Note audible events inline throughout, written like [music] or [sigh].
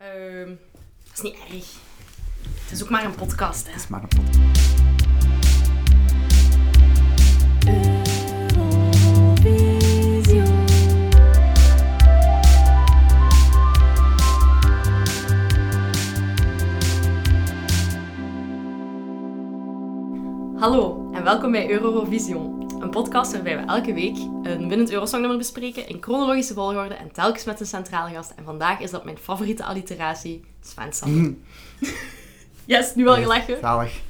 Ehm, dat is niet erg. Het is ook maar een podcast, hè. Het is maar een podcast. Hallo en welkom bij Eurovision. Een podcast waarbij we elke week een winnend Eurosongnummer bespreken in chronologische volgorde en telkens met een centrale gast. En vandaag is dat mijn favoriete alliteratie, Sven Sander. [laughs] yes, nu al gelachen. Zalig.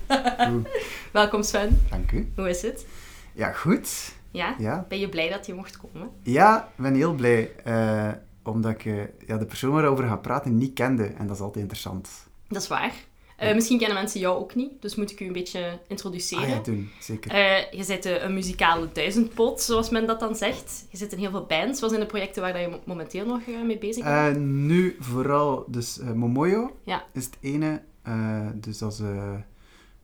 Oeh, Welkom Sven, Dank u. hoe is het? Ja, goed. Ja? Ja, Ben je blij dat je mocht komen? ja ik ben heel blij. eh, omdat ik eh, ja, de persoon waarover ga praten niet kende. En dat is altijd interessant. Dat is waar. Eh, misschien kennen mensen jou ook niet, dus moet ik u een beetje introduceren. Ah ja, doen. Zeker. Eh, je zit eh, een muzikale duizendpot, zoals men dat dan zegt. Je zit in heel veel bands. Wat zijn de projecten waar dat je mo- momenteel nog eh, mee bezig bent? Eh, nu vooral dus eh, Momoyo Ja. is het ene. Eh, dus dat is, eh,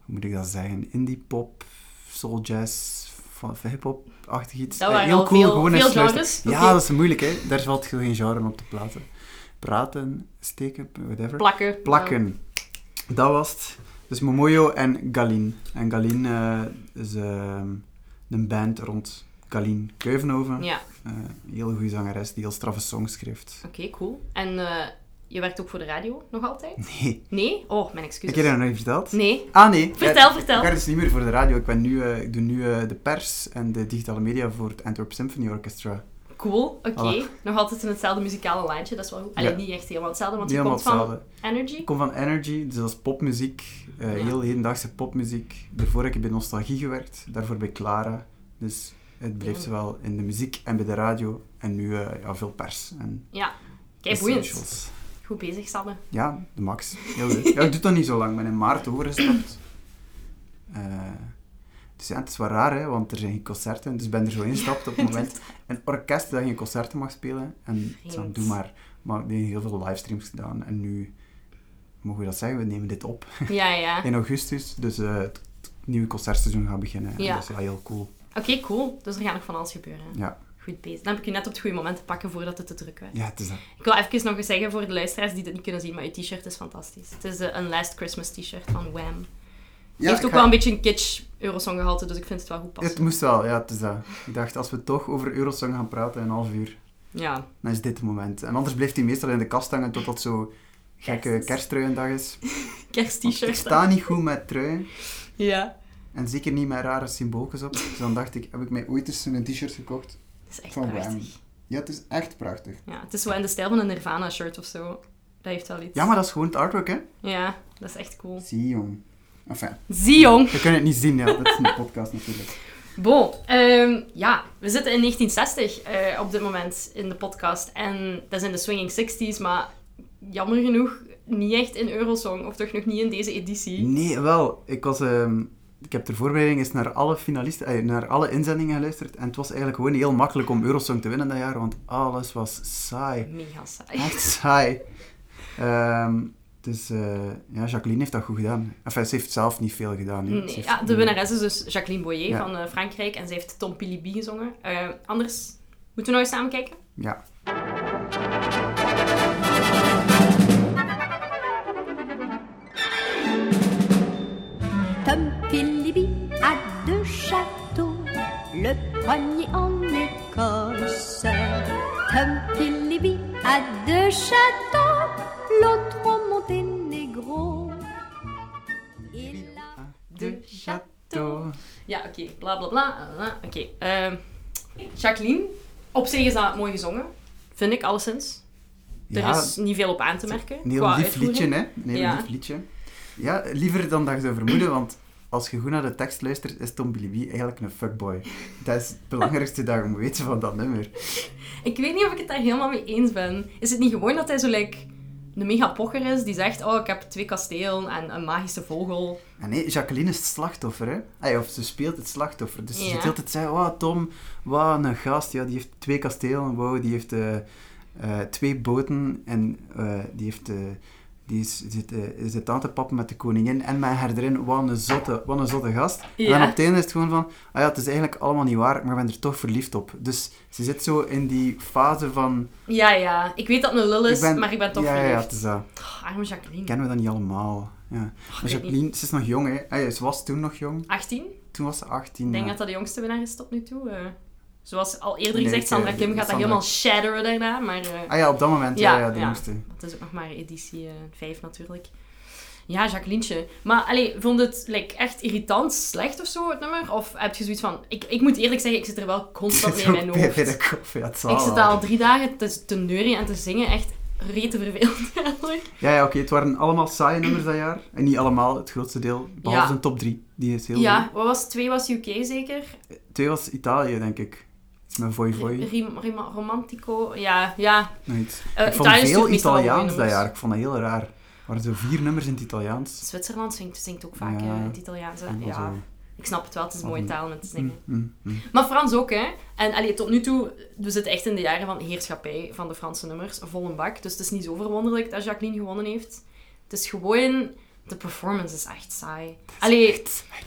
hoe moet ik dat zeggen, indie pop, soul jazz, van- van hip-hop, achtig iets. Dat Eh, waren heel al cool, veel- gewoon eens veel luisteren. genres. Ja, Oké. dat is moeilijk hè. Daar valt geen genre op te platen. Praten, steken, whatever. Plakken. Plakken. Dat was het. Dus Momoyo en Galin. En Galin eh, is ehm, een band rond Galin Keuvenhoven. Ja, Eh, heel goede zangeres die heel straffe songs schrijft. oké, cool. En eh, je werkt ook voor de radio, nog altijd? Nee, Nee? Oh, mijn ik excuses. heb dat nog niet verteld. Nee. Ah nee. Vertel, Ja, vertel. Ik werk dus niet meer voor de radio. Ik, ben nu, eh, ik doe nu eh, de pers en de digitale media voor het Antwerp Symphony Orchestra. Cool, oké. Voilà. Nog altijd in hetzelfde muzikale lijntje, dat is wel goed. Alleen Ja. niet echt helemaal hetzelfde, want je Helemaal komt van hetzelfde. Energy. Ik kom van Energy, dus dat is popmuziek, eh, Ja. heel hedendaagse popmuziek. Daarvoor heb ik bij Nostalgie gewerkt, daarvoor bij Clara. Dus het bleef Ja. zowel in de muziek en bij de radio en nu eh, ja, veel pers en Ja, de kijk, boeiend. socials. Goed bezig, Sanne. Ja, de max. Heel leuk. ja, ik doe dat niet zo lang, ik ben in maart overgestapt. Eh, dus ja, het is wel raar, hè, want er zijn geen concerten, dus ik ben er zo ingestapt op het moment. Een orkest dat geen concerten mag spelen. En Vreemd. zo, doe maar. Maar die hebben heel veel livestreams gedaan en nu... Mogen we dat zeggen? We nemen dit op [laughs] Ja, ja. in augustus. Dus eh, het nieuwe concertseizoen gaat beginnen. Ja. En dat is wel heel cool. Oké, cool. Dus er gaat nog van alles gebeuren. Ja. Goed bezig. Dan heb ik u net op het goede moment te pakken voordat het te druk werd. Ja, het is dat. Ik wil even nog eens zeggen voor de luisteraars die dit niet kunnen zien, maar je t-shirt is fantastisch. Het is eh, een Last Christmas t-shirt van Wham. Die heeft ook wel een beetje een kitsch Eurosong gehalte, dus ik vind het wel goed Het passen. moest wel, ja, het is dat. Ik dacht, als we toch over Eurosong gaan praten in een half uur, Ja, dan is dit het moment. En anders blijft hij meestal in de kast hangen totdat zo gekke Kerst. kerstruiendag [laughs] is. kerst Want Ik t-shirt. sta niet goed met truien. Ja. En zeker niet met rare symbooltjes op. Dus dan dacht ik, heb ik mij ooit eens een t-shirt gekocht? Dat is echt Van prachtig. Ja, het is echt prachtig. Ja, het is wel in de stijl van een Nirvana shirt of zo. Dat heeft wel iets. Ja, maar dat is gewoon het artwork, hè? Ja, dat is echt cool. Zie, jong. Enfin, Zie jong! we kunnen het niet zien, ja. Dat is een podcast natuurlijk. Bon, ehm, ja, we zitten in 1960 eh, op dit moment in de podcast. En dat is in de swinging 60s, maar jammer genoeg niet echt in Eurosong. Of toch nog niet in deze editie. Nee, wel. Ik was... ehm, ik heb ter voorbereiding eens naar alle finalisten, eh, naar alle inzendingen geluisterd. En het was eigenlijk gewoon heel makkelijk om Eurosong te winnen dat jaar, want alles was [laughs] saai. Mega saai. Echt saai. Ehm, dus eh, ja, Jacqueline heeft dat goed gedaan. Enfin, ze heeft zelf niet veel gedaan. hè. Ze Nee, heeft- ja, de winnares is dus Jacqueline Boyer Ja. van eh, Frankrijk en zij heeft Tom Pilibi gezongen. Eh, anders moeten we nou eens samen kijken. Ja. Tom Philibby a deux châteaux, le premier en Écosse. Tom Philibby a deux châteaux, l'autre au Monténégro. Il a... De Chateau. Ja, oké. Bla bla bla. la, la. Oké. ehm, Jacqueline, op zich is dat mooi gezongen. Vind ik alleszins. Ja, Er is niet veel op aan te merken. Een heel qua lief uitvoering. liedje, hè? Een heel Ja. lief liedje. Ja, liever dan dat je zou vermoeden, want als je goed naar de tekst luistert, is Tom Bilibie eigenlijk een fuckboy. Dat is het belangrijkste dat je moet weten van dat nummer. Ik weet niet of ik het daar helemaal mee eens ben. Is het niet gewoon dat hij zo like, een mega pocher is die zegt: Oh, ik heb twee kastelen en een magische vogel. En Ah, nee, Jacqueline is het slachtoffer, hè? Ay, of ze speelt het slachtoffer. Dus ze Ja. zit altijd zeggen, wauw, Tom, wauw, een gast, ja, die heeft twee kastelen, wauw, die heeft eh, eh, twee boten en eh, die heeft... eh, Die is, zit, eh, zit aan te pappen met de koningin en met haar erin. Wat een zotte, wat een zotte gast. En Ja. dan op het einde is het gewoon van... Ah ja, het is eigenlijk allemaal niet waar, maar ik ben er toch verliefd op. Dus ze zit zo in die fase van... Ja, ja. Ik weet dat het een lul is, ik ben- maar ik ben toch ja, Ja, ja, verliefd. het is dat. Oh, arme Jacqueline. Kennen we dat niet allemaal. Ja. Oh, Maar ik weet niet. Jacqueline, ze is nog jong, hè. Ah ja, ze was toen nog jong. 18? Toen was ze 18. Ik denk ja. dat dat de jongste winnaar is tot nu toe. eh. zoals al eerder Nee, gezegd, ik, Sandra eh, Kim gaat dat Sandra- helemaal shatteren daarna, maar... eh, Ah ja, op dat moment, ja, Ja, ja, de ja. jongste. Dat is ook nog maar editie 5 natuurlijk. Ja, Jacqueline'tje. Maar allee, vond het like, echt irritant slecht of zo, het nummer? Of heb je zoiets van... Ik, ik moet eerlijk zeggen, ik zit er wel [laughs] constant mee in mijn Zo bij- hoofd. bij de koffie, ja, het zal Ik zit wel. daar al drie dagen te, te neuren en te zingen. Echt rete vervelend [laughs] eigenlijk. Ja, ja oké, het waren allemaal saaie nummers dat jaar. En niet allemaal, het grootste deel. Behalve Ja. zijn top 3. Die is heel Ja, wat was het? Twee was UK zeker? goed. Twee was Italië, denk ik. Iets met Voi Voi, Rim- rim- romantico? Ja, ja. nog iets. Eh, ik vond Italië veel stuurt meestal wel mooie Italiaans dat nummers. jaar. Ik vond dat heel raar. Er waren zo vier nummers in het Italiaans. Zwitserland zingt, zingt ook vaak Ja. eh, in het Italiaans. hè. Ik vond dat Ja, zo, ik snap het wel. Het is een mooie Of een- taal om te mm, zingen. mm, mm. Maar Frans ook, hè. En allee, tot nu toe, we zitten echt in de jaren van heerschappij van de Franse nummers, vol een bak. Dus het is niet zo verwonderlijk dat Jacqueline gewonnen heeft. Het is gewoon... De performance is echt saai. Allee,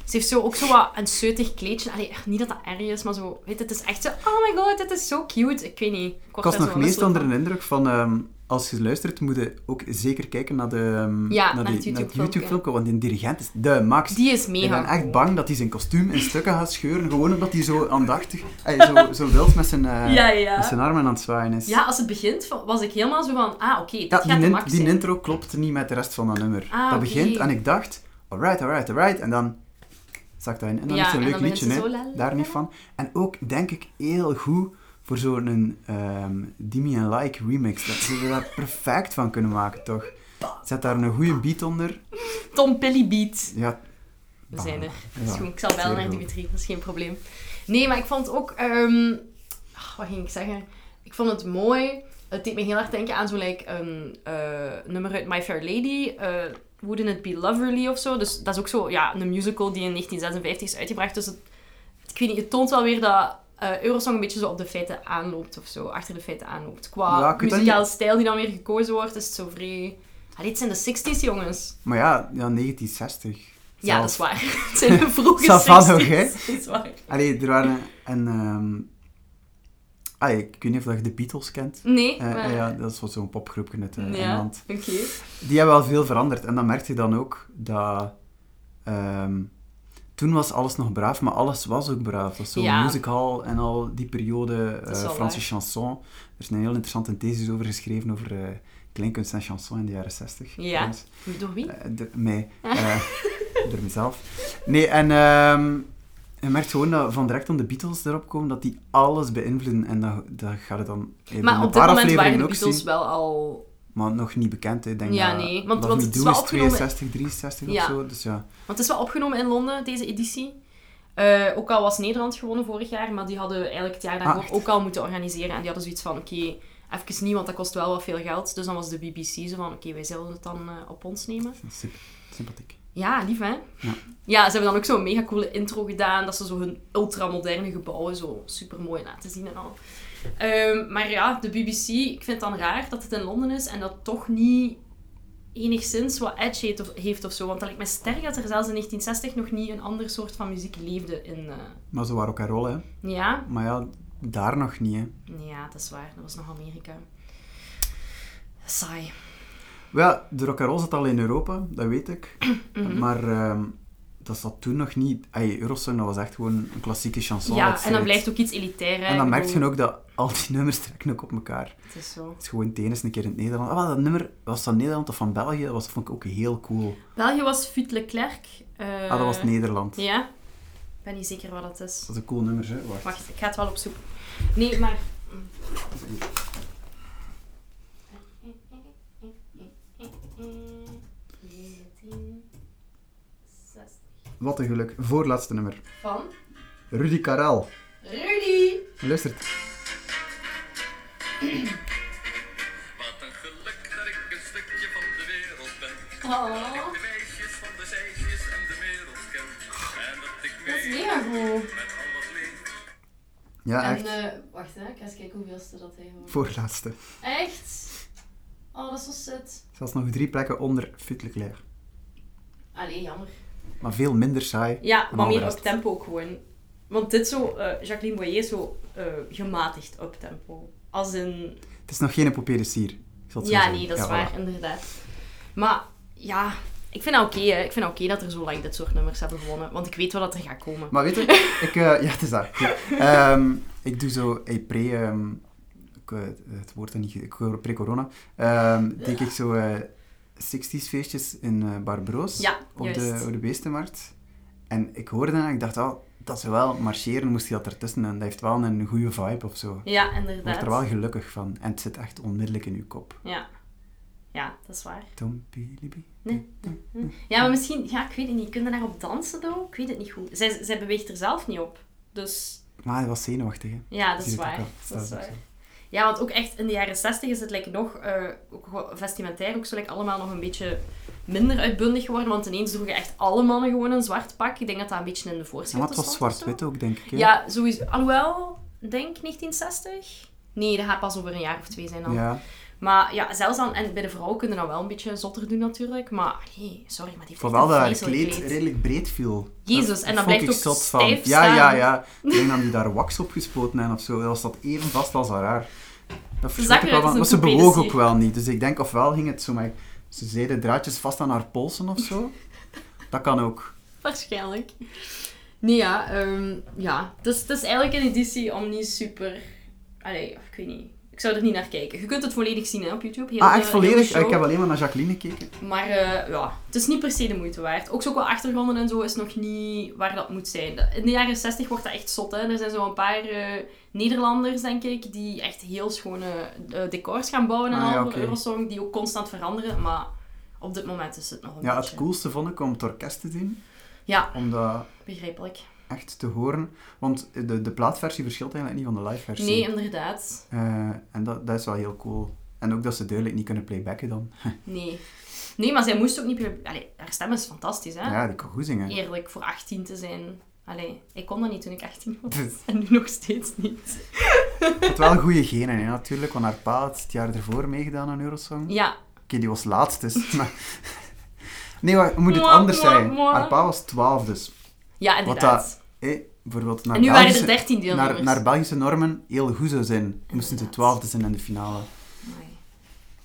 ze heeft zo ook zo wat een zeutig kleedje. Allee, niet dat dat erg is, maar zo... Weet, je, het is echt zo... Oh my god, dit is zo cute. Ik weet niet. Ik daar was zo nog meest misselijk onder van. de indruk van... ehm, als je luistert, moet je ook zeker kijken naar, de, ehm, Ja, naar, naar het die- naar YouTube-filmpje. YouTube-filmpje, want die dirigent is de max. Die is Ik mega ben echt cool. bang dat hij zijn kostuum in stukken gaat scheuren, gewoon omdat hij zo aandachtig, eh, zo, zo wild met zijn, eh, Ja, ja. met zijn armen aan het zwaaien is. Ja, als het begint van- was ik helemaal zo van... Ah, oké, dit Ja, gaat die, de in- max die zijn. intro klopt niet met de rest van dat nummer. Ah, oké. dat begint en ik dacht, alright, alright, alright, en dan zakt dat in. En dan Ja, is het een en leuk dan liedje, begint ze hè. zo la, la, daar niet la. van. En ook, denk ik, heel goed voor zo'n ehm Dimi and Like remix. Dat ze daar perfect van kunnen maken, toch? Zet daar een goede beat onder. Tom Pilly Beat. Ja, We zijn er. Ja, Dat is goed. Ik zal bellen zeer naar goed. Dimitri, dat is geen probleem. Nee, maar ik vond ook... ehm, ah, wat ging ik zeggen? Ik vond het mooi. Het deed me heel erg denken aan zo'n like, een eh, nummer uit My Fair Lady. eh, Wouldn't It Be Loverly of zo. Dus dat is ook zo ja, een musical die in 1956 is uitgebracht. Dus het, ik weet niet, het toont wel weer dat eh, Eurosong een beetje zo op de feiten aanloopt of zo. Achter de feiten aanloopt. Qua Ja, ik weet dat muzikale stijl die dan weer gekozen wordt, is het zo vrij... Allee, het zijn de 60s, jongens. Maar ja, ja 1960. Ja, dat Zelfs. is waar. [laughs] Het zijn de vroege Ça va nog, 60s. [laughs] hè? Dat is waar. Allee, er waren een... ehm, ah, ik weet niet of je de Beatles kent. Nee, Eh, maar... eh, ja, dat is wat zo'n popgroepje uit eh, Ja, Engeland. oké. Die hebben wel veel veranderd. En dan merkte je dan ook dat... ehm, toen was alles nog braaf, maar alles was ook braaf. Dat was zo'n Ja. musical en al die periode is eh, wel Franse waar. chanson. Er is een heel interessante thesis over geschreven over eh, kleinkunst en chanson in de jaren 60. Ja. trouwens. Door wie? Eh, door mij. Eh, [laughs] door mezelf. Nee, en ehm, je merkt gewoon dat van direct aan de Beatles erop komen, dat die alles beïnvloeden. En dat, dat gaat het dan in maar een op dit paar moment afleveringen waren de ook Beatles zien. wel al... Maar nog niet bekend, hè. ik denk Ja, dat nee, want- Love want Me het Do is wel is opgenomen- 62, 63 Ja. of zo. Dus ja. Want het is wel opgenomen in Londen, deze editie. Eh, ook al was Nederland gewonnen vorig jaar, maar die hadden eigenlijk het jaar daarvoor Ah, echt? ook al moeten organiseren. En die hadden zoiets van, oké, even niet, want dat kost wel wat veel geld. Dus dan was de BBC zo van, oké, wij zullen het dan eh, op ons nemen. Super, sympathiek. Ja, lief hè? Ja. Ja. ze hebben dan ook zo'n mega coole intro gedaan. Dat ze zo hun ultramoderne gebouwen zo super mooi laten zien en al. Ehm, maar ja, de BBC, ik vind het dan raar dat het in Londen is en dat toch niet enigszins wat edge heeft of, heeft of zo. Want dat lijkt me sterk dat er zelfs in 1960 nog niet een ander soort van muziek leefde in. eh, Maar ze waren ook aan rollen, hè. Ja, Maar ja, daar nog niet, hè. ja, dat is waar. Dat was nog Amerika. Saai. Wel, ja, de rock and roll zat al in Europa, dat [clears throat] weet ik. [clears throat] Maar ehm, dat zat toen nog niet... Ay, Eurosong, dat was echt gewoon een klassieke chanson. uit ja, de en dan tijd. blijft ook iets elitair. hè. En dan Ik merk je bedoel, ook dat al die nummers trekken ook op elkaar. Het is zo. Het is gewoon het ene is een keer in het Nederland. Ah, wel, dat nummer, was dat Nederland of van België? Dat was, vond ik ook heel cool. België was Fut Leclerc. eh, ah, dat was Nederland. Ja? Ik ben niet zeker wat dat is. Dat is een cool nummer, hè. Wacht. Wacht, ik ga het wel opzoeken. Nee, maar... Wat een geluk. Voorlaatste nummer. Van Rudy Karel. Rudy! Luistert. Wat een geluk dat ik een stukje van de wereld ben. Oh, De meisjes van de zeisjes en de wereld ken. En dat ik dat is mee mega goed. met al wat leef. Ja, En echt. eh, wacht, hè, ik ga eens kijken hoeveelste dat hij hoort. Voorlaatste. Echt? Oh, Oh, dat is zo zit. Zelfs nog drie plekken onder Fut Leclerc. Allee, jammer. Maar veel minder saai. Ja, dan maar al de meer rest. op tempo ook gewoon. Want dit zo, eh, Jacqueline Boyer is zo eh, gematigd op tempo. Als in... Het is nog geen papier de sier. ik zal het zo Ja, zeggen. nee, dat is voilà. waar, inderdaad. Maar ja, ik vind het oké hè. ik vind het oké dat er zo lang dit soort nummers hebben gewonnen. Want ik weet wel dat er gaat komen. Maar weet je, ik, eh, ja, het is dat. Ja. Ehm, ik doe zo pre, ehm ik, eh, het woord dan niet, ge- ik hoor E pre-corona, ehm, deed ik zo eh 60s feestjes in eh Barbaroos Ja, op, de, juist. op de Beestenmarkt. En ik hoorde dat en ik dacht, oh, dat ze wel marcheren, moest hij dat ertussen en dat heeft wel een goede vibe of zo. Ja, Je wordt er inderdaad. wel gelukkig van en het zit echt onmiddellijk in uw kop. Ja. ja, dat is waar. Tom, bilibi. Nee. Ja, maar misschien... Ja, ik weet het niet. Kunnen daarop dansen, dan? Ik weet het niet goed. Zij, zij beweegt er zelf niet op. Dus Maar hij was zenuwachtig, hè. ja, dat Zie is je het waar. ook wel. Dat is Staat ook waar. zo. Ja, want ook echt in de jaren 60 is het like, nog eh, ook gewoon vestimentair ook zo like, allemaal nog een beetje minder uitbundig geworden. Want ineens droegen echt alle mannen gewoon een zwart pak. Ik denk dat dat een beetje in de Ja, maar voorschriften het was stond of zo. zwart-wit ook, denk ik. hè. Ja, sowieso. Alhoewel, denk 1960? Nee, dat gaat pas over een jaar of twee zijn dan. ja. Maar ja, zelfs dan... En bij de vrouwen kunnen dat wel een beetje zotter doen natuurlijk. Maar nee, sorry, maar die heeft Vooral echt dat een haar vreselijk kleed redelijk breed viel. Jezus, en dat vond blijft ik ook zot stijf Ja, staan. ja, ja. Ik denk dat die daar wax op gespoten hebben of zo. Dat zat even vast als haar haar. Dat verschot zag ik eruit als wel van. een Maar ze toupee, bewoog dus ook hier. wel niet. Dus ik denk, ofwel ging het zo met... Ze zeiden draadjes vast aan haar polsen of zo. Dat kan ook. Waarschijnlijk. Nee, ja. ehm, ja. Dus het is eigenlijk een editie om niet super... Allee, ik weet niet. Ik zou er niet naar kijken. Je kunt het volledig zien hè, op YouTube. Heel- ah, heel- echt heel volledig? show. Ik heb alleen maar naar Jacqueline gekeken. Maar eh, ja, het is niet per se de moeite waard. Ook zo qua achtergronden en zo is nog niet waar dat moet zijn. Dat- In de jaren 60 wordt dat echt zot. Hè. Er zijn zo een paar eh, Nederlanders, denk ik, die echt heel schone eh, decors gaan bouwen en Ah, ja, al voor oké. Eurosong. Die ook constant veranderen. Maar op dit moment is het nog een Ja, het beetje... coolste vond ik om het orkest te zien. Ja, Om dat begrijpelijk. echt te horen. Want de, de plaatversie verschilt eigenlijk niet van de liveversie. Nee, inderdaad. Eh, en dat, dat is wel heel cool. En ook dat ze duidelijk niet kunnen playbacken dan. Nee. Nee, maar zij moest ook niet... meer- Allee, haar stem is fantastisch, hè? Ja, die kan goed zingen. Eerlijk, voor 18 te zijn. Allee, ik kon dat niet toen ik 18 was. Dus- [laughs] En nu nog steeds niet. Het had wel goede genen, hè, natuurlijk. Want haar pa had het jaar ervoor meegedaan aan Eurosong. Oké, Ja, die was laatst, dus... [laughs] Maar... Nee, maar moet het Mwah, anders mwah, zijn? mwah. Haar pa was 12, dus... ja Wat inderdaad. dat... Hé, bijvoorbeeld naar En nu waren er Belgische, 13 deelnemers. naar, naar Belgische normen heel goed zou zijn. Moesten ze Inderdaad. 12 zijn in de finale. Amai,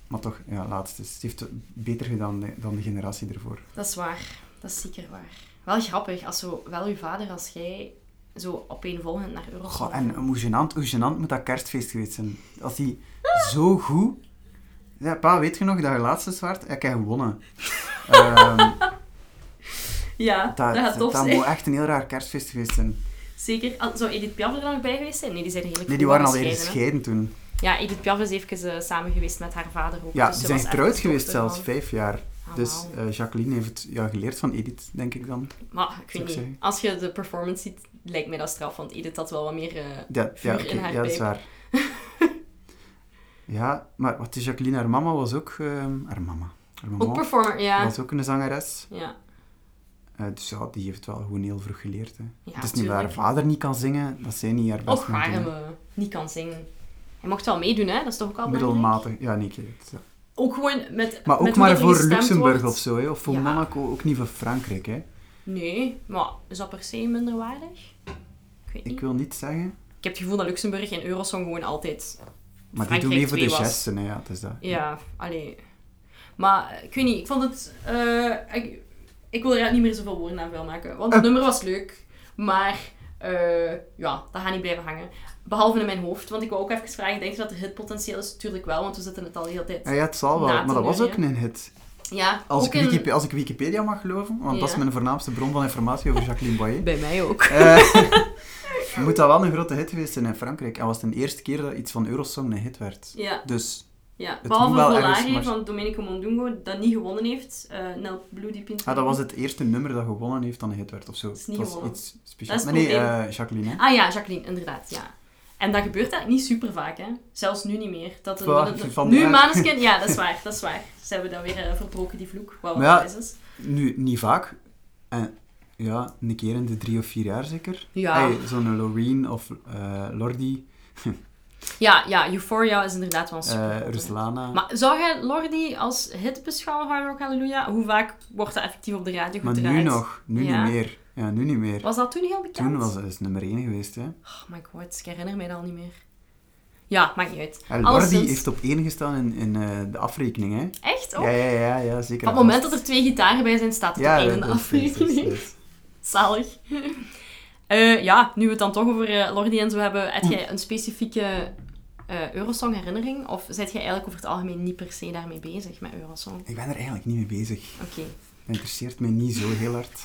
Maar toch, ja, laatst. Dus het heeft het beter gedaan de- dan de generatie ervoor. dat is waar. Dat is zeker waar. Wel grappig, als zo, wel uw vader als jij zo opeenvolgend naar Eurosong... Goh, en um, hoe gênant, hoe gênant moet dat kerstfeest geweest zijn? Als hij zo goed... Ja, pa, weet je nog dat je laatste zwart? Ik heb [laughs] gewonnen. Ehm, Ja, dat, Dat, gaat tof dat zijn. moet echt een heel raar kerstfeest geweest zijn. Zeker. Al- Zou Edith Piaf er dan nog bij geweest zijn? Nee, die zijn eigenlijk Nee, die waren alweer gescheiden toen. Ja, Edith Piaf is even eh, samen geweest met haar vader ook. Ja, dus ze ze zijn was echt getrouwd de geweest dochter zelfs, van- vijf jaar. Ah, Dus wauw. eh, Jacqueline heeft het ja, geleerd van Edith, denk ik dan. Maar ik Zou ik weet niet. zeggen. Als je de performance ziet, lijkt mij dat straf, want Edith had wel wat meer eh, Ja, vuur ja, in oké, haar ja dat is pijp. waar. [laughs] ja, maar wat is Jacqueline, haar mama was ook... ehm, haar mama. Haar Ook mama performer, ja. was ook een zangeres. Ja, Eh, dus ja, die heeft wel gewoon heel vroeg geleerd. Hè. Ja, het is niet dat haar tuurlijk. vader niet kan zingen, dat zij niet haar best of moet haar hem doen. eh, niet kan zingen. Hij mocht wel meedoen, hè? Dat is toch ook al belangrijk? Middelmatig, ja, nee, ik weet het, ja. Ook gewoon met Maar met ook hoe maar dat er voor gestemd Luxemburg wordt. of zo, hè. of voor Ja. Monaco, ook niet voor Frankrijk. Hè. Nee, maar is dat per se minderwaardig? Ik weet niet. Ik Ik, wil niet zeggen, heb het gevoel dat Luxemburg in Eurosong gewoon altijd... maar die Frankrijk doen mee voor de twee was. gesten, hè. ja, het is dat. Ja, allee... Maar eh, ik weet niet, ik vond het... eh, ik, ik wil er niet meer zoveel woorden aan vuil maken. Want [laughs] het nummer was leuk, maar... eh, ja, dat gaat niet blijven hangen. Behalve in mijn hoofd, want ik wil ook even vragen, denk je dat er hitpotentieel is? Tuurlijk wel, want we zitten het al de hele tijd. Ah Ja, ja, het zal wel, Na te maar dat was ook neuren, een hit. Ja, Als ik, ook in- Wikipedia, als ik Wikipedia mag geloven, want dat is Ja. mijn voornaamste bron van informatie over Jacqueline [laughs] Boyer, Bij mij ook. eh, [laughs] moet dat wel een grote hit geweest zijn in Frankrijk. En was het de eerste keer dat iets van Eurosong een hit werd. Ja, Dus, ja. Het behalve moet wel ergens, Volari maar- van Domenico Mondungo, dat niet gewonnen heeft. eh Nel Blue Deep Into ah, dat was het eerste nummer dat gewonnen heeft dat een hit werd of zo. is niet het was gewonnen. iets speciaals. Dat is Nee, nee, het probleem. eh, Jacqueline. Hè. Ah ja, Jacqueline, inderdaad, ja. En dat gebeurt eigenlijk niet super vaak, hè. Zelfs nu niet meer. Dat een- Voilà, dat een- van nu waar. Maneskin, ja, [laughs] dat is waar, dat is waar. Ze hebben dan weer eh, verbroken, die vloek. Wat Maar ja. wel is is. Nu, niet vaak. En, ja, een keer in de drie of vier jaar zeker. Ja. Hey, Zo'n Loreen of eh, Lordi. Ja, ja, Euphoria is inderdaad wel een Eh, super. Ruslana. maar zou jij Lordi als hit beschouwen, Hard Rock Hallelujah? Hoe vaak wordt dat effectief op de radio Maar gedraaid? nu nog. Nu Ja. niet meer. Ja, nu niet meer. Was dat toen heel bekend? Toen was het dus nummer 1 geweest, hè. Oh my god, ik herinner mij dat al niet meer. Ja, maakt niet uit. Ja, Lordi Alleszins- heeft op 1 gestaan in, in eh, de afrekening, hè. Echt? Oh. Ja, ja, ja, ja, zeker. Op het moment dat er twee gitaren bij zijn, staat het ja, op één in de dat- dat- dat- dat- afrekening. dat- Zalig. [laughs] Eh, ja, nu we het dan toch over eh, Lordi en zo hebben, heb jij een specifieke eh, Eurosong-herinnering? Of zit jij eigenlijk over het algemeen niet per se daarmee bezig met Eurosong? Ik ben er eigenlijk niet mee bezig. Oké. Dat interesseert mij niet zo heel hard.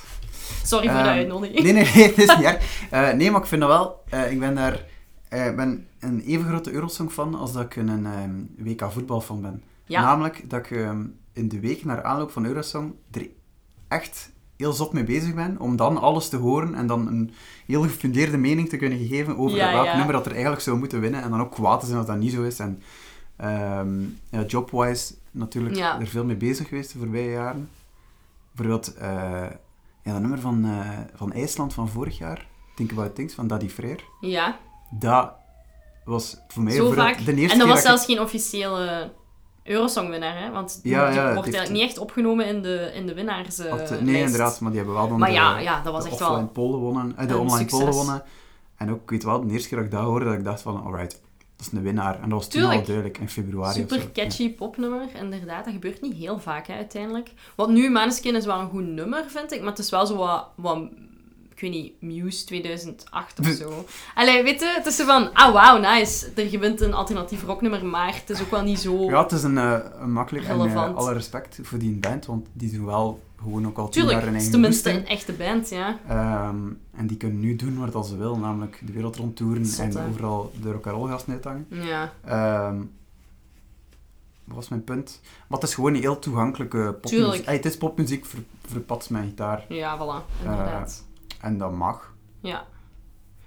Sorry voor Ehm, de uitnodiging. Nee, nee, nee, het [laughs] is niet erg. Eh, nee, maar ik vind dat wel... eh, ik ben daar... eh, ik ben een even grote Eurosong-fan als dat ik een ehm, WK voetbalfan ben. Ja. Namelijk dat ik ehm, in de week naar aanloop van Eurosong er echt heel zot mee bezig ben, om dan alles te horen en dan een heel gefundeerde mening te kunnen geven over Ja, welk ja. nummer dat er eigenlijk zou moeten winnen. En dan ook kwaad te zijn als dat niet zo is. En ehm, ja, jobwise natuurlijk Ja. er veel mee bezig geweest de voorbije jaren. Bijvoorbeeld eh, ja, dat nummer van, eh, van IJsland van vorig jaar, Think About Things, van Daddy Freer. [laughs] Ja, Dat was voor mij zo bijvoorbeeld vaak. de eerste en dat keer was dat ik- zelfs geen officiële Eurosong-winnaar, hè? Want die Ja, ja, die het wordt heeft- eigenlijk niet echt opgenomen in de, in de winnaars. eh, Had- nee, lijst. inderdaad, maar die hebben wel dan Maar de, ja, ja, dat was de echt offline wel poll wonnen, eh, de een online poll succes. wonnen. En ook, ik weet wel, de eerste keer dat ik dat hoorde, dat ik dacht van, alright, dat is een winnaar. En dat was toen al Tuurlijk. duidelijk, in februari of zo. Super catchy popnummer, inderdaad. Dat gebeurt niet heel vaak, hè, uiteindelijk. Want nu, Maneskin is wel een goed nummer, vind ik. Maar het is wel zo wat... wat ik weet niet, Muse 2008 [laughs] of zo. Allee, weet je, het is zo van... Ah, wauw, nice. Er gewint een alternatief rocknummer, maar het is ook wel niet zo... Ja. Ja, het is een, eh, een makkelijk en eh, Relevant. alle respect voor die band, want die doen wel gewoon ook al tien Tuurlijk, jaar hun het is eigen tenminste goesting. een echte band, ja. Ehm, en die kunnen nu doen wat ze wil, namelijk de wereld rondtoeren Zot, en hè. overal de rock'n'roll gasten uithangen. Ja, Ehm, wat was mijn punt? Maar het is gewoon een heel toegankelijke popmuziek. Tuurlijk. Ey, het is popmuziek ver, verpatst met gitaar. ja, voilà. Eh, Inderdaad. En dat mag. Ja. Ik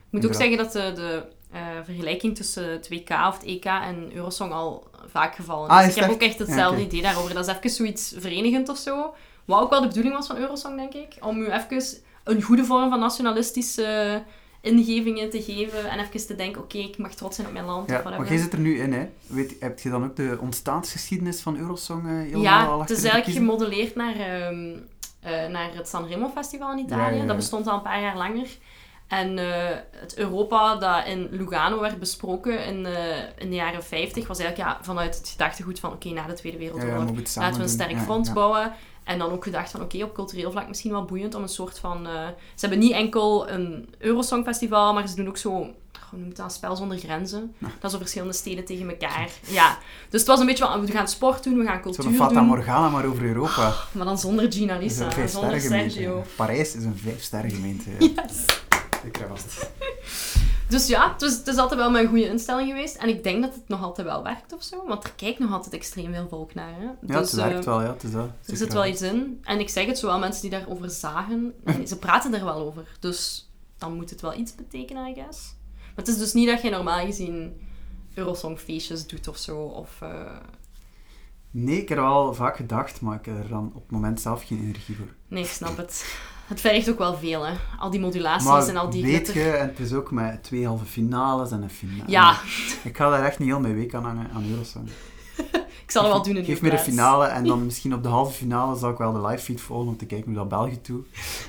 moet ook Inderdaad. zeggen dat de, de eh, vergelijking tussen het WK of het EK en Eurosong al vaak gevallen is. Ah, is ik het heb echt? ook echt hetzelfde Ja, oké. idee daarover. Dat is even zoiets verenigend of zo. Wat ook wel de bedoeling was van Eurosong, denk ik. Om u even een goede vorm van nationalistische ingevingen te geven. En even te denken, oké, ik mag trots zijn op mijn land. Ja, of maar whatever. jij zit er nu in, hè? Weet, heb je dan ook de ontstaansgeschiedenis van Eurosong eh, helemaal ja, al het is achter de eigenlijk kiezen? gemodelleerd naar, ehm, eh, naar het Sanremo Festival in Italië. Ja, ja, ja. Dat bestond al een paar jaar langer. En eh, het Europa dat in Lugano werd besproken in, eh, in de jaren 50 was eigenlijk ja, vanuit het gedachtegoed van oké, na de Tweede Ja, ja, maar Wereldoorlog we moeten het samen laten we een doen. sterk Ja, front ja. bouwen. En dan ook gedacht van, oké, op cultureel vlak misschien wel boeiend om een soort van... eh, ze hebben niet enkel een Eurosongfestival, maar ze doen ook zo... oh, Hoe noemt dat? Spel zonder grenzen. Dat is zo verschillende steden tegen elkaar. Ja. Dus het was een beetje van, we gaan sport doen, we gaan cultuur Zo'n Fata doen. Ah, Morgana, maar over Europa. Maar dan zonder Gina Het is Lisa, een en zonder Sergio. vijfsterrengemeente. Parijs is een vijfsterrengemeente. Ik heb [laughs] vast. Dus ja, het is, het is altijd wel mijn goede instelling geweest. En ik denk dat het nog altijd wel werkt of zo. Want er kijkt nog altijd extreem veel volk naar. Hè. Ja, dus, het werkt eh, wel, ja. Het is dat. Er zit wel iets in. En ik zeg het zowel mensen die daarover zagen, en ze praten er wel over. Dus dan moet het wel iets betekenen, I guess. Maar het is dus niet dat je normaal gezien Eurosongfeestjes doet of zo. Of, eh, Nee, ik heb er wel vaak gedacht, maar ik heb er dan op het moment zelf geen energie voor. Nee, ik snap het. Het vergt ook wel veel, hè. Al die modulaties en Ah, al die weet glitter. je, en het is ook met twee halve finales en een finale. Ja, Ik ga daar echt niet heel mijn week aan hangen, aan Eurosong. ik zal er wel doen in Geef uw me de plaats. finale en [laughs] dan misschien op de halve finale zal ik wel de live feed volgen om te kijken hoe dat België toe.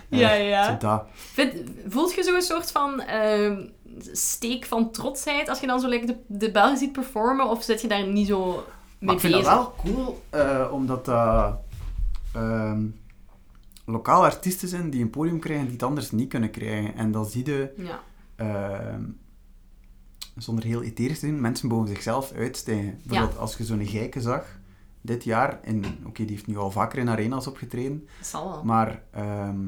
Eh, Ja, ja. Zo dat. Vind- voelt je zo'n soort van ehm, steek van trotsheid als je dan zo lekker de, de Belgen ziet performen? Of zit je daar niet zo mee Maar ik vind dat bezig? wel cool, eh, omdat dat ehm, lokale artiesten zijn die een podium krijgen die het anders niet kunnen krijgen. En dan zie je, Ja. ehm, zonder heel etherisch te doen, mensen boven zichzelf uitstijgen. Bijvoorbeeld als je zo'n geike zag, dit jaar, in- oké, die heeft nu al vaker in arena's opgetreden, Dat zal wel. maar ehm,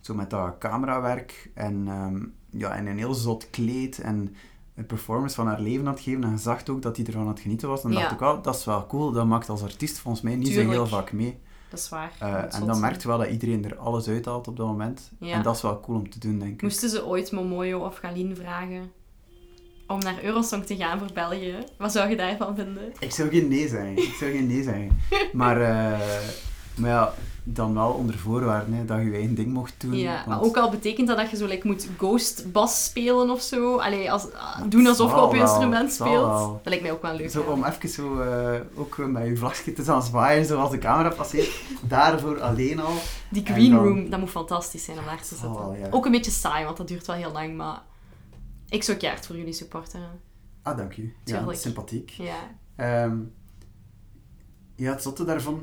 zo met dat camerawerk en, ehm, ja, en een heel zot kleed en een performance van haar leven aan het geven. En je zag ook dat hij ervan aan het genieten was. Dan Ja. dacht ik wel, dat is wel cool. Dat maakt als artiest volgens mij niet zo Tuurlijk. heel vaak mee. Dat is waar. Eh, Dat moet en zot dan zijn. merk je wel dat iedereen er alles uithaalt op dat moment. Ja. En dat is wel cool om te doen, denk ik. Moesten ze ooit Momoyo of Galien vragen om naar Eurosong te gaan voor België? Wat zou je daarvan vinden? [laughs] Ik zou geen nee zeggen. Ik zou geen nee zeggen. Maar eh, Maar ja, dan wel onder voorwaarden hè, dat je je eigen ding mocht doen. Ja, maar want- ook al betekent dat dat je zo like, moet ghost bas spelen of zo. Allee, als, ah, doen het alsof je zal op je wel, instrument het zal speelt. wel. Dat lijkt mij ook wel leuk. Zo ja. om even zo, eh, ook met je vlagje te gaan zwaaien, zoals de camera [laughs] passeert. Daarvoor alleen al. Die en green dan- room, dat moet fantastisch zijn om daar te zal zitten. wel, Oh, ja. Ook een beetje saai, want dat duurt wel heel lang, maar ik zou keihard voor jullie supporteren. Ah, dank u. Ja, Tuurlijk. sympathiek. Ja. Ehm, ja, het zotte daarvan,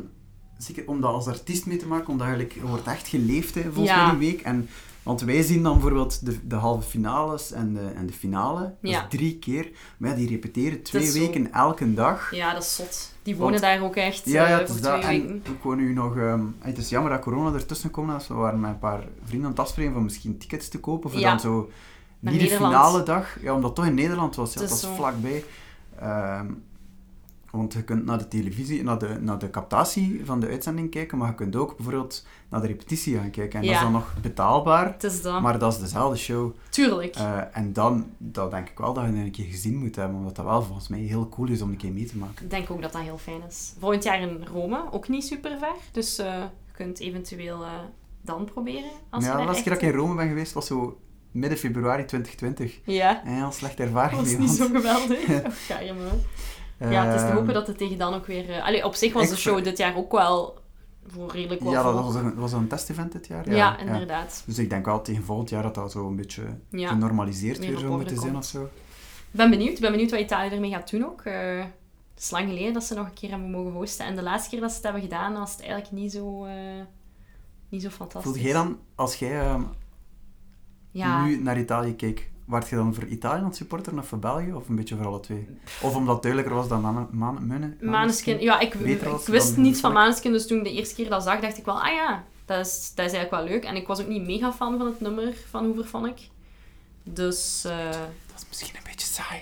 zeker om dat als artiest mee te maken, omdat je, like, je wordt echt geleefd hè, volgens Ja. mij die week. En, want wij zien dan bijvoorbeeld de, de halve finales en de, en de finale, dat Ja. is drie keer. Maar ja, die repeteren twee is zo. weken elke dag. ja, dat is zot. Die wonen Want- daar ook echt Ja, eh, ja, het voor is twee dat. En weken. we wonen nu nog... ehm, het is jammer dat corona ertussen kwam. Dus we waren met een paar vrienden aan het afspreken van misschien tickets te kopen. Voor Ja. dan zo... Naar niet de Nederland. finale dag. Ja, omdat het toch in Nederland was. Ja, Het dat is was zo. vlakbij. Ehm, want je kunt naar de televisie, naar de, naar de captatie van de uitzending kijken. Maar je kunt ook bijvoorbeeld naar de repetitie gaan kijken. En dat Ja. is dan nog betaalbaar. Het is dat. Maar dat is dezelfde show. Tuurlijk. Eh, en dan, dat denk ik wel dat je het een keer gezien moet hebben. Omdat dat wel volgens mij heel cool is om een keer mee te maken. Ik denk ook dat dat heel fijn is. Volgend jaar in Rome, ook niet super ver. Dus eh, je kunt eventueel eh, dan proberen. Als ja, je daar de laatste keer echt- dat ik in Rome ben geweest was zo midden februari 2020. Ja, En heel slechte dat [laughs] ervaring. was mee, niet want, zo [laughs] geweldig. Oh, Och, arme. Ja, het is te ehm, hopen dat het tegen dan ook weer... eh, allee, op zich was ik de ver- show dit jaar ook wel voor redelijk wat Ja, dat volk. was een, was een testevent dit jaar. Ja, inderdaad. Dus ik denk wel tegen volgend jaar dat dat zo een beetje Ja. genormaliseerd Meer weer op zou orde moeten zijn komt. of zo. Ik ben benieuwd. Ik ben benieuwd wat Italië ermee gaat doen ook. Eh, het is lang geleden dat ze nog een keer hebben mogen hosten. En de laatste keer dat ze het hebben gedaan, was het eigenlijk niet zo, eh, niet zo fantastisch. Voelde jij dan, als jij ehm, Ja. nu naar Italië keek, waart je dan voor Italië aan het supporteren of voor België? Of een beetje voor alle twee? Of omdat het duidelijker was dan Mane- Mane- Munne? Maneskin, ja, ik, Beter was ik dan wist niets van Maneskin, Maneskin. dus toen ik de eerste keer dat zag, dacht ik wel, ah ja, dat is, dat is eigenlijk wel leuk. En ik was ook niet mega fan van het nummer van Hoever van ik. Dus eh, Dat is misschien een beetje saai.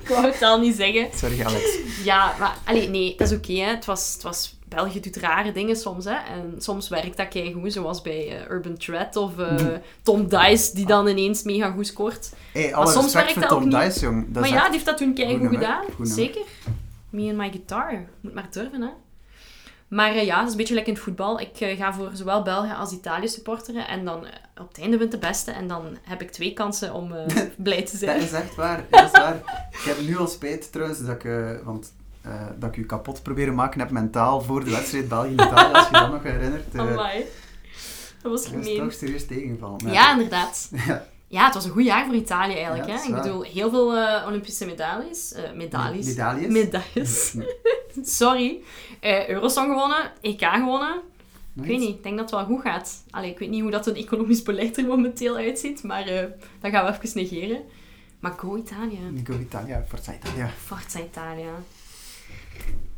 ik wou het al niet zeggen. Sorry, [laughs] Alex. Ja, maar allee, nee, dat is oké. hè. het was, het was, België doet rare dingen soms. Hè. En soms werkt dat keigoed, zoals bij eh, Urban Threat of [laughs] eh, Tom Dice, die dan ineens mega goed scoort. Hey, alle soms respect werkt voor dat ook Tom niet. Dice, jong. Dat maar is ja, echt- die heeft dat toen keigoed nummer, gedaan. goed nummer. Zeker. Me and my guitar. Moet maar durven, hè. Maar eh, ja, dat is een beetje lekker in het voetbal. Ik eh, ga voor zowel België als Italië supporteren. En dan eh, op het einde wint de beste. En dan heb ik twee kansen om [laughs] eh, blij te zijn. Dat is echt waar, dat is waar. Ik heb nu al spijt trouwens, dat ik, eh, want, eh, dat ik u kapot proberen maken heb mentaal voor de wedstrijd België-Italië, als je dat nog herinnert. eh, Amai. Dat was dat is toch gemeen. serieus tegengevallen. Maar- Ja, inderdaad. [laughs] Ja. Ja, het was een goed jaar voor Italië eigenlijk. Ja, dat hè? is Ik waar. bedoel, heel veel eh, Olympische medailles. eh, medailles. Medailles? [laughs] Medailles. Sorry. Eh, Eurosong gewonnen, EK gewonnen. Nog Ik weet iets? niet, ik denk dat het wel goed gaat. Allee, ik weet niet hoe dat een economisch beleid er momenteel uitziet, maar eh, dat gaan we even negeren. Maar go Italië. Nico Italia, Forza Italia. Forza Italia.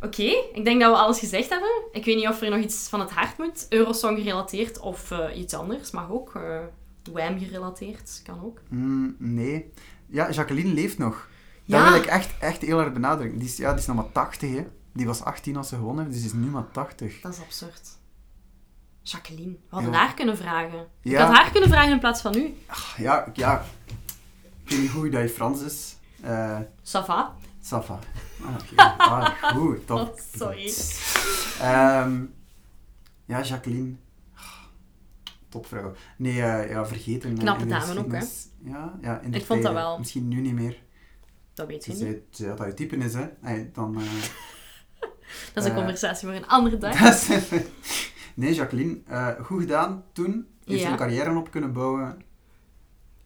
Oké, ik denk dat we alles gezegd hebben. Ik weet niet of er nog iets van het hart moet. Eurosong gerelateerd of eh, iets anders, mag ook. eh Wham gerelateerd, kan ook. Mm, nee. Ja, Jacqueline leeft nog. Ja. Dat wil ik echt, echt heel erg benadrukken. Die is, ja, die is nog maar 80, hè. Die was 18 als ze gewonnen heeft, dus die is nu maar 80. Dat is absurd. Jacqueline, we hadden Ja. haar kunnen vragen. Ik Ja. had haar kunnen vragen in plaats van u. Ach, ja, ja. Ik weet niet hoe dat je Frans is. Eh Sava. Safa. [laughs] Ah, oké. Ah, goed, top. Oh, sorry. Ehm, ja, Jacqueline. Topvrouw. Nee, eh, ja, vergeten. Knappe In de dame ook, hè? geschiedenis. Ja, ja in de Ik vond dat tijden. wel. Misschien nu niet meer. Dat weet je Ze niet. zei ze zei dat hij typen is, hè. Hey, dan... [laughs] eh, Dat is een eh, conversatie voor een andere dag. [laughs] dat is- nee, Jacqueline. eh, goed gedaan toen. Heeft Ja. ze een carrière op kunnen bouwen.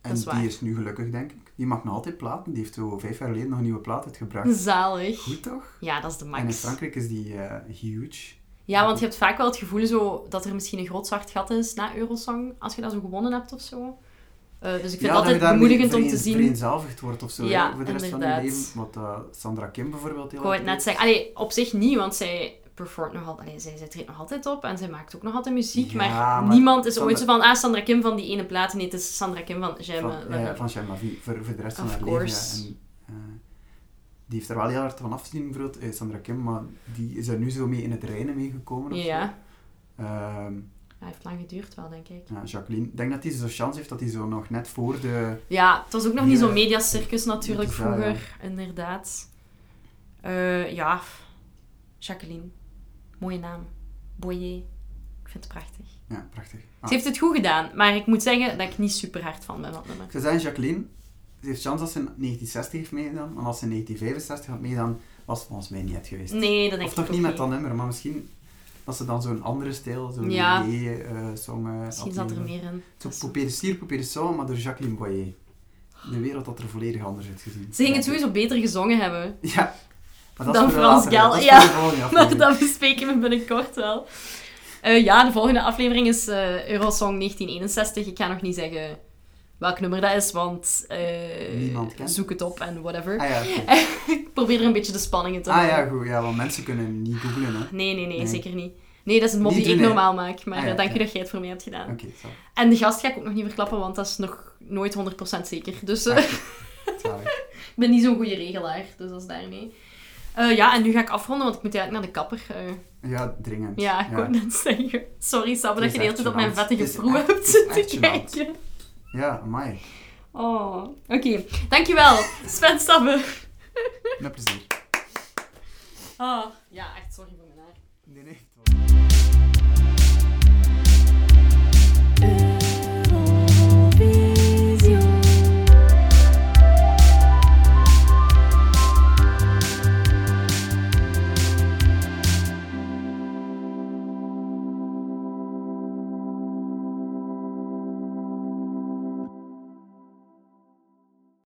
En Dat is waar. die is nu gelukkig, denk ik. Die mag nog altijd platen. Die heeft zo vijf jaar geleden nog een nieuwe plaat uitgebracht. Hm. Zalig. Goed, toch? Ja, dat is de En in max. Frankrijk is die eh, huge. Ja, want je hebt vaak wel het gevoel zo dat er misschien een groot zwart gat is na Eurosong, als je dat zo gewonnen hebt of zo. Eh, dus ik vind het dat je altijd daarmee bemoedigend om te vereen- zien. vereenzelvigd wordt of zo, Ja, hè, voor de rest inderdaad. van je leven. Wat eh, Sandra Kim bijvoorbeeld heel Ik wou het erg net doet. zeggen. Allee, op zich niet, want zij performt nog altijd. Allee, zij, zij treedt nog altijd op en zij maakt ook nog altijd muziek. Ja, maar, maar niemand is Sandra- ooit zo van, ah, Sandra Kim van die ene plaat. Nee, het is Sandra Kim van J'aime. Van, Marie. ja, van Shai Mavi, voor, voor de rest van Of haar course. leven. ja. En, eh, die heeft er wel heel hard van afgezien, bijvoorbeeld eh, Sandra Kim, maar die is er nu zo mee in het reinen meegekomen. of zo. ja. Ehm, Ja, heeft lang geduurd wel, denk ik. ja, Jacqueline, ik denk dat hij zo'n chance heeft dat hij zo nog net voor de... Ja, het was ook nog niet Ja. zo'n mediacircus natuurlijk Dat is waar, vroeger, inderdaad. Eh, ja, Jacqueline. Mooie naam. Boyer. Ik vind het prachtig. Ja, prachtig. Ah. Ze heeft het goed gedaan, maar ik moet zeggen dat ik niet super hard van ben dat nummer. Ze zijn Jacqueline. Ze heeft chance dat ze in 1960 heeft meegedaan. Want als ze in 1965 had meegedaan, was het volgens mij niet het geweest. Nee, dat denk of ik toch niet met ook dat nummer, maar misschien dat ze dan zo'n andere stijl, zo'n eh, Ja. Boyer-song... Misschien zat er meer in. Zo'n Dus- poupée de stier, poupée de song, maar door Jacqueline Boyer. De wereld had er volledig anders uit gezien. Ze ging het Denk ik. sowieso beter gezongen hebben. Ja. Maar dat Dan is voor de Frans latere, Gal, dat is ja. voor de volgende [laughs] Maar aflevering. dat bespreken we binnenkort wel. Eh, ja, de volgende aflevering is eh, Eurosong 1961. Ik ga nog niet zeggen welk nummer dat is, want eh, Niemand kent. zoek het op en whatever. Ah ja, oké. Ik probeer er een beetje de spanning in te ah houden. ja, goed. Ja, want mensen kunnen niet googlen, hè. Nee, nee, nee, Nee. zeker niet. Nee, dat is een mop Niet die ik doen, hè. normaal maak, maar Ah, eh, ja, dank je ja. dat jij het voor mij hebt gedaan. Oké, zo. En de gast ga ik ook nog niet verklappen, want dat is nog nooit 100% zeker. Dus Ah. eh, Zalig. ik ben niet zo'n goede regelaar, dus dat is daarmee. Eh, ja, en nu ga ik afronden, want ik moet eigenlijk naar de kapper. eh. Ja, dringend. Ja, ik wou net zeggen. Sorry, Sabbe, dat Het je is de hele tijd echt op mijn gênant. vettige Het is proe echt- hebt het is echt te gênant. kijken. Ja, amai. Oh, oké. Dankjewel, Sven Sabbe. Met plezier. Oh, Ah, ja, echt sorry voor mijn haar. Nee, nee. het was-